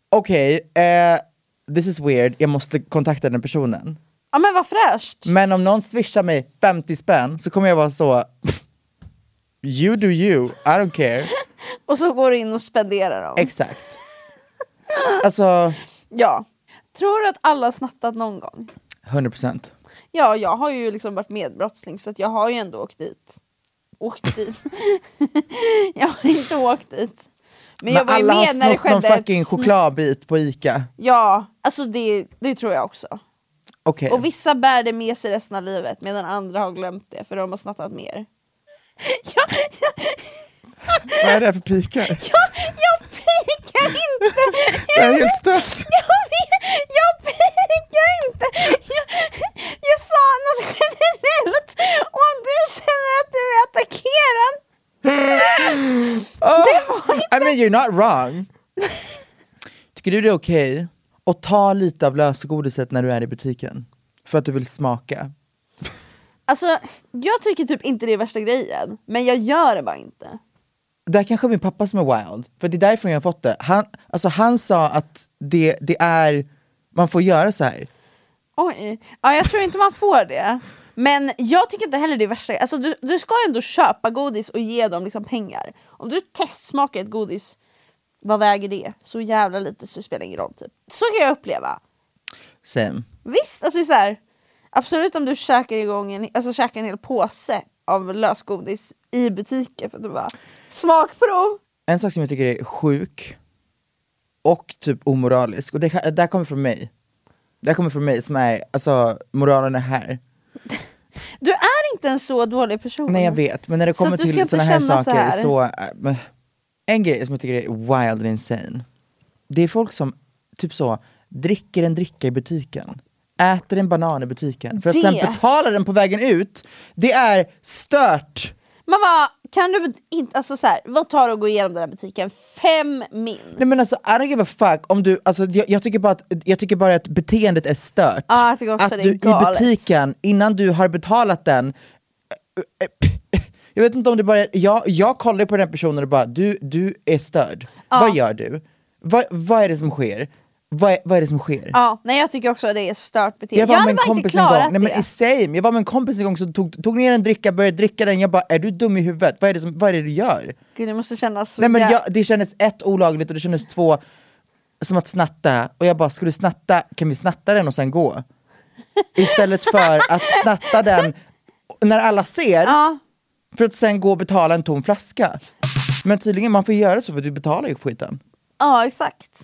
S4: okej, eh, this is weird, jag måste kontakta den personen.
S5: Ja men vad fräscht.
S4: Men om någon swishar mig 50 spänn så kommer jag vara så, you do you, I don't care.
S5: Och så går du in och spenderar dem.
S4: Exakt. Alltså,
S5: ja. Tror du att alla har snattat någon gång?
S4: 100%.
S5: Ja, jag har ju liksom varit medbrottsling så att jag har ju ändå åkt dit. Åkt dit? jag har inte åkt dit. Men, jag var ju
S4: alla har
S5: med när det
S4: snott någon
S5: skedde ett
S4: fucking
S5: sn-
S4: chokladbit på Ica.
S5: Ja, alltså det, det tror jag också.
S4: Okej.
S5: Och vissa bär det med sig resten av livet medan andra har glömt det för de har snattat mer. jag, jag,
S4: Vad är det här för pikar?
S5: jag, jag pikar inte!
S4: Det här är helt stört.
S5: Jag, vet- jag pikar inte! Jag, jag sa något generellt om du känner att du är attackerad.
S4: I mean you're not wrong. Tycker du det är okej att ta lite av lösgodiset när du är i butiken? För att du vill smaka?
S5: Alltså, jag tycker typ inte det är värsta grejen, men jag gör det bara inte.
S4: Det här kanske är min pappa som är wild, för det är därifrån jag har fått det. Han, alltså han sa att det, det är, man får göra så här.
S5: Oj. Ja, jag tror inte man får det. Men jag tycker inte heller det är värsta. Alltså, du, du ska ändå köpa godis och ge dem liksom pengar. Om du testsmakar ett godis, vad väger det? Så jävla lite så det spelar ingen roll. Typ. Så kan jag uppleva.
S4: Same.
S5: Visst, alltså det är så här, absolut om du käkar, igång en, alltså, käkar en hel påse av lösgodis i butiken för att du bara smakprov.
S4: En sak som jag tycker är sjuk och typ omoralisk, och det, det här kommer från mig. Det här kommer från mig som är, alltså moralen är här.
S5: Du är inte en så dålig person.
S4: Nej jag vet, men när det
S5: Så att
S4: kommer
S5: du ska
S4: till
S5: inte
S4: sådana här
S5: känna så
S4: saker så,
S5: här.
S4: äh, men- En grej som jag tycker är wild and insane Det är folk som typ så dricker en dricka i butiken Äter en banan i butiken för att
S5: Det-
S4: sen betala den på vägen ut Det är stört!
S5: Man bara, kan du inte, alltså så här, vad tar du att gå igenom den här butiken? Fem min.
S4: Nej men alltså I don't give a fuck om du, alltså jag, jag, tycker, bara att, jag tycker bara att beteendet är stört
S5: Ja, jag tycker också
S4: Att
S5: det är
S4: du i
S5: galet.
S4: butiken, innan du har betalat den Jag vet inte om det bara är, jag, jag kollar på den här personen och bara du, du är störd, vad gör du? Vad, vad är det som sker? Vad är, vad är det som sker?
S5: Ja, nej jag tycker också att det är stört beteende.
S4: Jag
S5: Jag,
S4: var med
S5: hade
S4: en
S5: bara inte
S4: kompis en
S5: klarat
S4: gång, nej men
S5: det.
S4: i same, jag var med en kompis en gång som tog, tog ner en dricka, började dricka den, jag bara är du dum i huvudet? Vad är det, som, vad är det du gör?
S5: Gud, det måste kännas så
S4: Nej men
S5: jä-
S4: jag, det kändes ett olagligt och det kändes två som att snatta och jag bara, skulle snatta, kan vi snatta den och sen gå? Istället för att snatta den när alla ser för att sen gå och betala en tom flaska. Men tydligen, man får göra så för du betalar ju skiten.
S5: Ja exakt.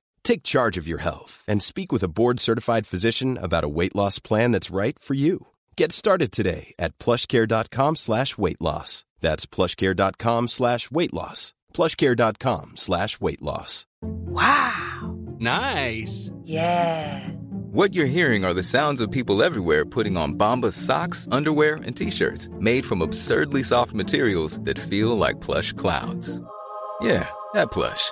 S2: Take charge of your health and speak with a board-certified physician about a weight loss plan that's right for you. Get started today at plushcare.com slash weight loss. That's plushcare.com slash weight loss. plushcare.com slash weight loss.
S6: Nice.
S7: What you're hearing are the sounds of people everywhere putting on Bombas socks, underwear, and t-shirts made from absurdly soft materials that feel like plush clouds. Yeah, that plush.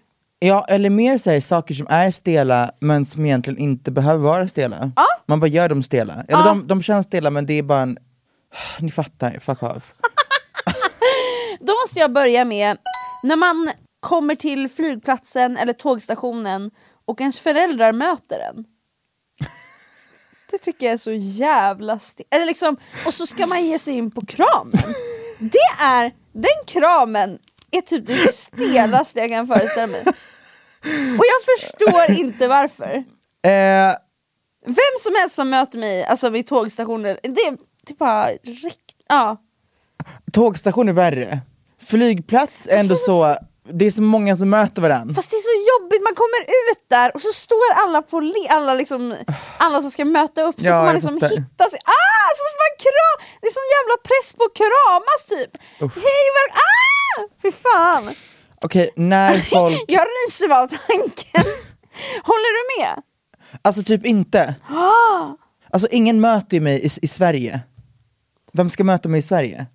S4: ja eller mer så här, saker som är stela men som egentligen inte behöver vara stela. Man bara gör dem stela. Eller de, de känns stela men det är bara en, ni fattar, fuck off.
S5: Då måste jag börja med, när man kommer till flygplatsen eller tågstationen och ens föräldrar möter en. Det tycker jag är så jävla stelt. Eller liksom, och så ska man ge sig in på kramen. Det är, den kramen är typ det stelaste jag kan föreställa mig. Och jag förstår inte varför.
S4: Eh,
S5: Vem som helst som möter mig alltså vid tågstationer, det, det är typ bara rikt... Ja.
S4: tågstation är värre. Flygplats är ändå så, det är så många som möter varandra.
S5: Fast det är så jobbigt, man kommer ut där och så står alla på le- alla, liksom, alla som ska möta upp, så
S4: Ja,
S5: får man
S4: jag
S5: liksom
S4: fattar.
S5: hitta sig. Ah! Så måste man kram- det är sån jävla press på att kramas typ. Hej, väl- ah! Fy fan.
S4: Okej, när folk,
S5: Jag ryser bara av tanken. Håller du med? Ah.
S4: alltså typ inte. Alltså ingen möter ju mig i, i Sverige. Vem ska möta mig i Sverige?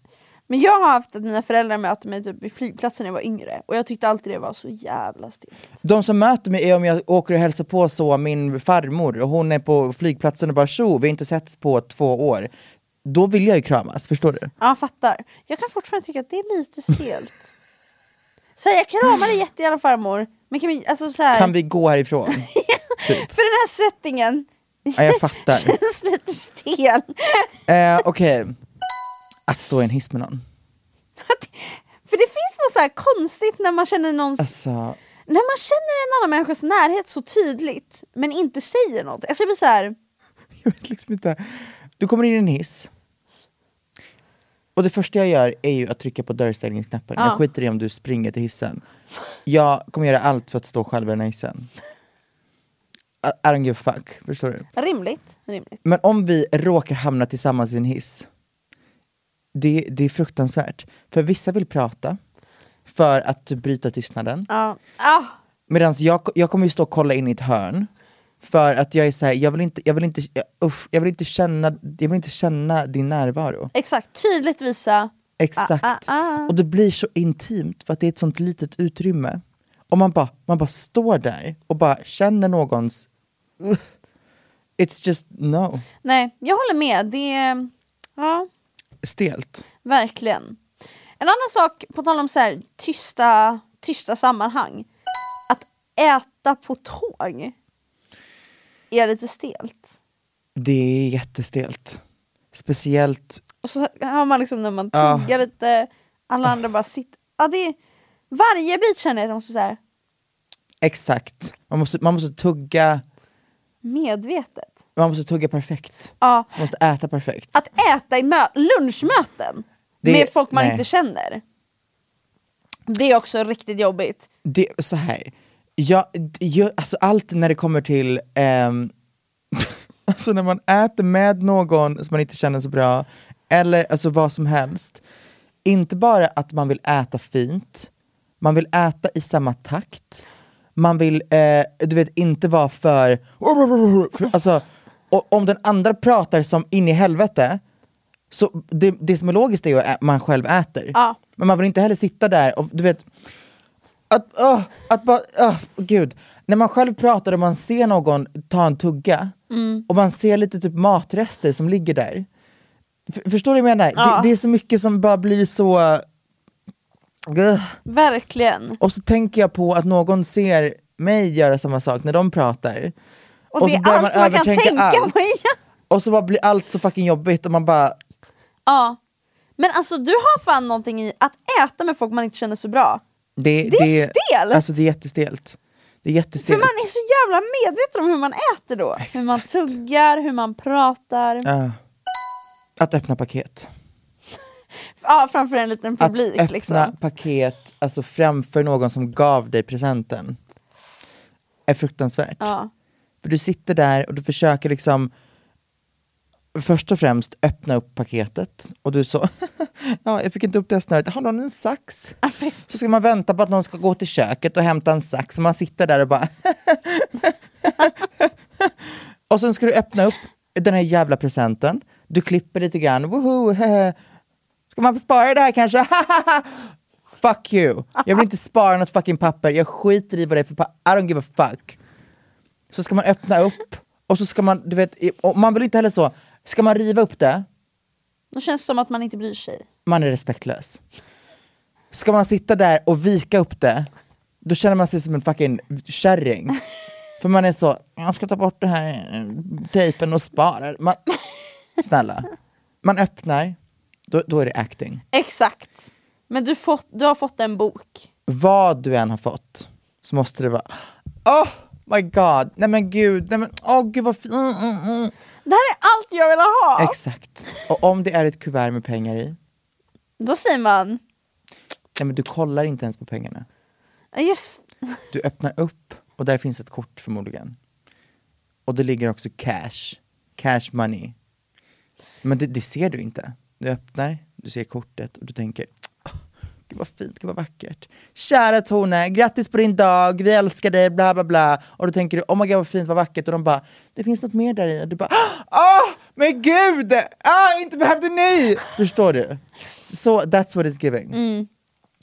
S5: Men jag har haft att mina föräldrar möter mig typ vid flygplatsen när jag var yngre och jag tyckte alltid det var så jävla stelt.
S4: De som möter mig är om jag åker och hälsar på så min farmor och hon är på flygplatsen och bara tjo, vi har inte setts på två år. Då vill jag ju kramas, förstår du?
S5: Ja, jag fattar. Jag kan fortfarande tycka att det är lite stelt. Så här, jag kramar dig jättegärna farmor, men kan vi, alltså så här,
S4: Kan vi gå härifrån?
S5: för den här settingen
S4: Ja, jag fattar.
S5: känns lite stel.
S4: Eh, Okej, att stå i en hiss med någon.
S5: För det finns något så här konstigt när man känner någons,
S4: Alltså,
S5: när man känner en annan människas närhet så tydligt, men inte säger något. Alltså jag blir så här,
S4: jag vet liksom inte. Du kommer in i en hiss. Och det första jag gör är ju att trycka på dörrstängningsknappen.
S5: Ja.
S4: Jag skiter i om du springer till hissen. Jag kommer göra allt för att stå själv i den här hissen. I, I don't give a fuck, förstår du?
S5: rimligt, rimligt.
S4: Men om vi råkar hamna tillsammans i en hiss, det, det är fruktansvärt. För vissa vill prata för att typ bryta tystnaden.
S5: Ja. Ah,
S4: Medan jag, jag kommer ju stå och kolla in i ett hörn. För att jag är såhär, jag, vill inte- jag, vill inte- jag, uff, jag, vill inte känna- jag vill inte känna din närvaro.
S5: exakt, tydligt visa.
S4: Exakt.
S5: Ah, ah, ah.
S4: Och det blir så intimt för att det är ett sånt litet utrymme. Och man bara, man bara står där och bara känner någons... Uff. It's just no.
S5: Nej, jag håller med. Det är, ja.
S4: Stelt.
S5: Verkligen. En annan sak, på tal om så här, tysta, tysta sammanhang. Att äta på tåg är lite stelt.
S4: Det är jättestelt. Speciellt,
S5: Och så hör man liksom när man tuggar lite, alla andra bara sitter. Ja, det är, varje bit känner jag att jag måste säga
S4: exakt. Man måste, man måste tugga,
S5: medvetet.
S4: man måste tugga perfekt.
S5: Ja,
S4: Man måste äta perfekt.
S5: att äta i mö- lunchmöten
S4: Det-
S5: med folk man
S4: nej.
S5: inte känner. Det är också riktigt jobbigt.
S4: Det, så här. Jag, jag, alltså allt när det kommer till, ehm, alltså när man äter med någon som man inte känner så bra, eller alltså vad som helst. Inte bara att man vill äta fint, man vill äta i samma takt, man vill eh, du vet, inte vara för... för alltså, och om den andra pratar som in i helvete, så det, det som är logiskt är ju att man själv äter.
S5: Ja.
S4: Men man vill inte heller sitta där och du vet, att, åh, att bara, åh, gud. När man själv pratar och man ser någon ta en tugga
S5: Mm.
S4: och man ser lite typ matrester som ligger där. F- förstår du vad jag menar?
S5: Ja.
S4: Det, det är så mycket som bara blir så... Ugh.
S5: Verkligen.
S4: Och så tänker jag på att någon ser mig göra samma sak när de pratar.
S5: Och,
S4: Och
S5: det
S4: så
S5: är
S4: börjar
S5: allt
S4: man
S5: man kan
S4: övertänka
S5: tänka
S4: allt.
S5: på. Ja.
S4: Och så bara blir allt så fucking jobbigt och man bara,
S5: Ja. Men alltså du har fan någonting i att äta med folk man inte känner så bra.
S4: det,
S5: Det är stelt.
S4: Alltså det är jättestelt. Det är
S5: För
S4: jättestelt.
S5: man är så jävla medveten om hur man äter då. Hur man
S4: Exakt.
S5: tuggar, hur man pratar.
S4: Ja. Att öppna paket.
S5: Ja, framför en liten
S4: Att
S5: publik
S4: öppna
S5: liksom.
S4: paket alltså framför någon som gav dig presenten är fruktansvärt.
S5: Ja.
S4: För du sitter där och du försöker liksom först och främst öppna upp paketet och du så, ja jag fick inte upp det här snöret, har någon en sax? Så ska man vänta på att någon ska gå till köket och hämta en sax och man sitter där och bara Och sen ska du öppna upp den här jävla presenten, du klipper lite grann, woho, hehe. ska man spara det här kanske? fuck you! Jag vill inte spara något fucking papper, jag skiter i vad det är för papper, I don't give a fuck så ska man öppna upp och så ska man, du vet, i- och man vill inte heller så, ska man riva upp det,
S5: Då känns det som att man inte bryr sig.
S4: man är respektlös. Ska man sitta där och vika upp det, då känner man sig som en fucking kärring. För man är så, jag ska ta bort den här eh, tejpen och spara. Man, snälla, man öppnar, då, då är det acting.
S5: Exakt. Men du, fått, du har fått en bok.
S4: vad du än har fått så måste det vara Oh my god, nej men gud, nej men åh gud vad fint. Mm, mm, mm.
S5: Det här är allt jag vill ha!
S4: Exakt. Och om det är ett kuvert med pengar i,
S5: Då säger man,
S4: nej men du kollar inte ens på pengarna.
S5: "Ja, just
S4: Du öppnar upp och där finns ett kort förmodligen. Och det ligger också cash, cash money. Men det, det ser du inte. Du öppnar, du ser kortet och du tänker "Åh, Gud vad fint, gud vad vackert. Kära Tone, grattis på din dag, vi älskar dig, bla bla bla. Och då tänker du, oh my god vad fint, vad vackert. Och de bara, det finns något mer där i. Och du bara, åh, men gud, ah, inte behövde ni. Förstår du? Så that's what it's giving.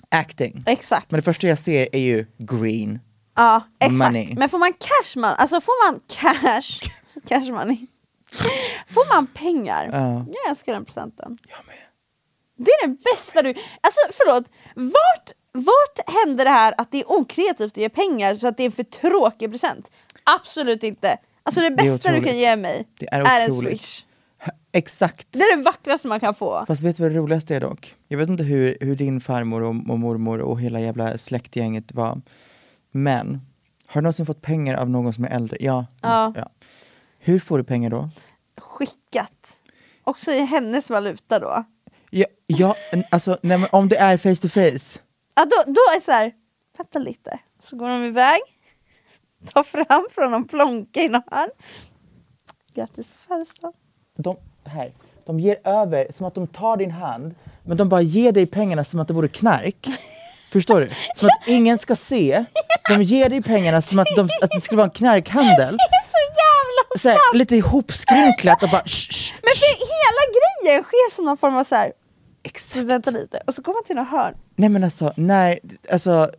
S4: Acting.
S5: exakt.
S4: Men det första jag ser är ju green.
S5: ja, exakt.
S4: money.
S5: Men får man cash man, alltså får man cash, cash money, får man pengar? Jag älskar den presenten.
S4: Jag med.
S5: Det är det bästa du... Alltså förlåt, vart, vart hände det här att det är okreativt att ge pengar så att det är en för tråkig present? Absolut inte. Alltså det bästa du kan
S4: otroligt.
S5: ge mig
S4: Det är
S5: en
S4: otroligt.
S5: swish.
S4: Exakt.
S5: Det är det vackraste man kan få.
S4: Fast vet du vad det roligaste är dock? Jag vet inte hur, hur din farmor och, och mormor och hela jävla släktgänget var. Men, har du någonsin fått pengar av någon som är äldre? Ja.
S5: Ja.
S4: ja. Hur får du pengar då?
S5: Skickat. Också i hennes valuta då.
S4: Ja, ja en- alltså nej, men om det är face to face.
S5: Ja, då, då är det så här, vänta lite. Så går de iväg, tar fram från någon plånka i någon hand. Grattis på födelsedagen.
S4: De, här, de ger över som att de tar din hand, men de bara ger dig pengarna som att det vore knark. Förstår du? Som att ingen ska se. De ger dig pengarna som att, de, att det skulle vara en knarkhandel.
S5: Det är så jävla
S4: Så här,
S5: sant!
S4: lite ihopskrynklat och bara shh, shh,
S5: Men
S4: shh.
S5: för hela grejen sker som någon form av så här,
S4: Exakt.
S5: du vänta lite, och så går man till någon hörn.
S4: Nej men alltså, när, alltså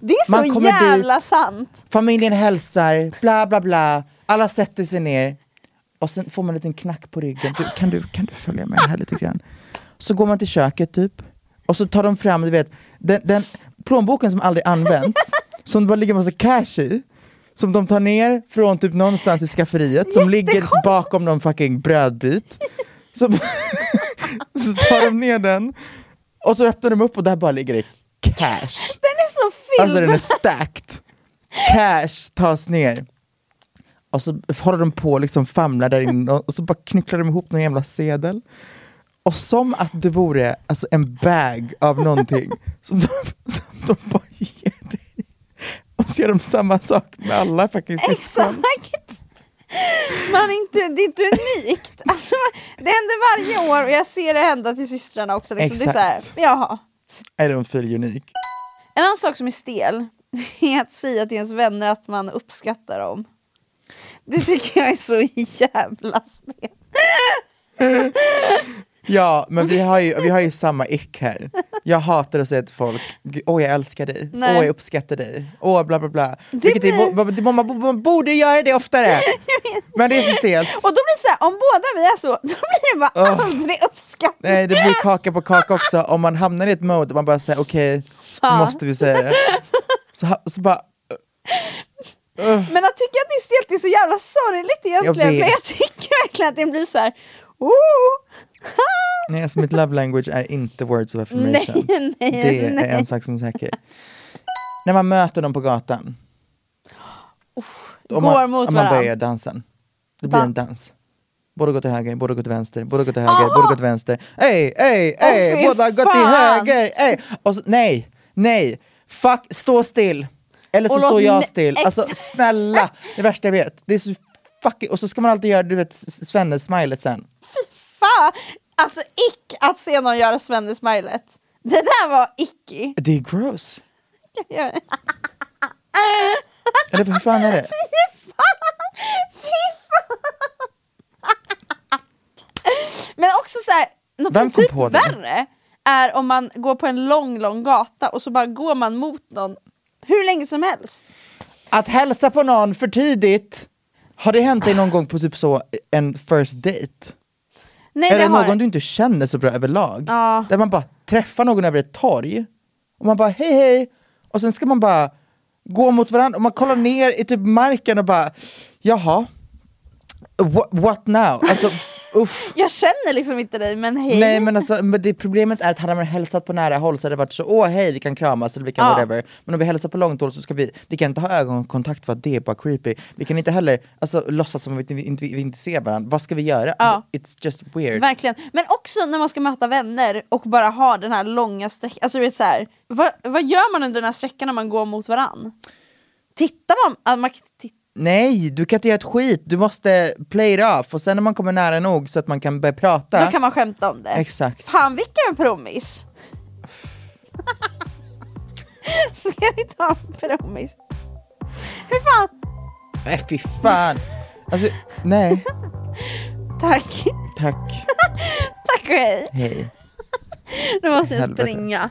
S5: Det är
S4: Man
S5: så
S4: kommer
S5: jävla sant!
S4: familjen hälsar, bla bla bla, alla sätter sig ner och sen får man en liten knack på ryggen. Du, kan, du, kan du följa med här lite grann? Så går man till köket typ och så tar de fram, du vet, den, den plånboken som aldrig används, som det bara ligger massa cash i, som de tar ner från typ någonstans i skafferiet, som ligger liksom
S5: Jättekonstigt.
S4: bakom någon fucking brödbit. Så, så tar de ner den och så öppnar de upp och där bara ligger det cash.
S5: Den är så
S4: Alltså den
S5: filmad!
S4: är stacked. Cash tas ner. Och så håller de på och liksom famlar där inne och så bara knycklar de ihop någon jävla sedel. Och som att det vore alltså, en bag av någonting som de, som de bara ger dig. Och så gör de samma sak med alla fucking syskon.
S5: Exakt! Man är inte, det är inte unikt. Alltså, det händer varje år och jag ser det hända till systrarna också. Liksom. Det är så här,
S4: Exakt.
S5: jaha.
S4: I don't feel unique.
S5: En annan sak som är stel är att säga till ens vänner att man uppskattar dem. Det tycker jag är så jävla stelt.
S4: Ja, men vi har ju, vi har ju samma ick här. Jag hatar att säga till folk, "Gud, åh jag älskar dig,
S5: Nej.
S4: åh jag uppskattar dig, åh bla bla bla. Vilket är,
S5: blir-
S4: bo- bo- man, bo- man borde göra det oftare, men det är så stelt.
S5: Och då blir det så här, om båda vi är så, då blir det bara aldrig uppskattning.
S4: Nej, det blir kaka på kaka också om man hamnar i ett mode där man bara säger okej, nu måste vi säga det. Så, ha- så bara,
S5: Men att tycka att det är stelt är så jävla sorgligt egentligen.
S4: vet.
S5: men jag tycker verkligen att det blir så här, oh,
S4: nej alltså mitt love language är inte words of affirmation.
S5: Nej, nej,
S4: det
S5: nej.
S4: är en sak som är säker. När man möter dem på gatan,
S5: går mot
S4: om man
S5: varandra.
S4: börjar dansen, det blir
S5: Va?
S4: en dans. Båda går till höger, båda går till vänster, båda går till höger, båda går till vänster. Ej, ej, ej,
S5: Ah, fy
S4: båda går till
S5: fan.
S4: höger, ej! Och så, nej, nej, fuck, stå still! Eller så
S5: Och låt
S4: står jag
S5: ne-
S4: still. Alltså snälla, det värsta jag vet. Det är så fucking... Och så ska man alltid göra, du vet, Svenne-smilet sen.
S5: Fan! Alltså ick att se någon göra Svenne-smilet. Det där var icky.
S4: Det är gross. Eh.
S5: Gör det.
S4: Eller hur fan är det?
S5: Men också så här, något
S4: Vem
S5: som
S4: kom
S5: typ
S4: på det?
S5: värre är om man går på en lång, lång gata och så bara går man mot någon hur länge som helst.
S4: Att hälsa på någon för tidigt. Har det hänt dig någon gång på typ så en first date?
S5: Nej,
S4: Eller
S5: det har
S4: någon du inte känner så bra överlag?
S5: Ja.
S4: Där man bara träffar någon över ett torg och man bara hej hej och sen ska man bara gå mot varandra och man kollar ner i typ marken och bara jaha, what, what now? Alltså uff.
S5: Jag känner liksom inte dig, men hej.
S4: Nej men alltså men det problemet är att hade man hälsat på nära håll så hade det varit så åh hej vi kan kramas eller vi kan
S5: Ja.
S4: whatever. Men om vi hälsar på långt håll så ska vi, vi kan inte ha ögonkontakt för att det är bara creepy. Vi kan inte heller alltså, låtsas som att vi inte, vi inte ser varandra. Vad ska vi göra?
S5: Ja.
S4: It's just weird.
S5: Verkligen. Men också när man ska möta vänner och bara ha den här långa sträckan. Alltså, du vet så här, vad, vad gör man under den här sträckan när man går mot varann? Tittar man? ah, man kan inte titta.
S4: Nej, du kan inte göra ett skit. Du måste play it off och sen när man kommer nära nog så att man kan börja prata.
S5: Då kan man skämta om det.
S4: Exakt.
S5: Fan vilken promis! Ska vi ta en promis? Hur fan?
S4: Nej, fy fan. Alltså, nej.
S5: Tack,
S4: Tack.
S5: tack och hej.
S4: Hej.
S5: Nu måste jag
S4: Helvete.
S5: springa.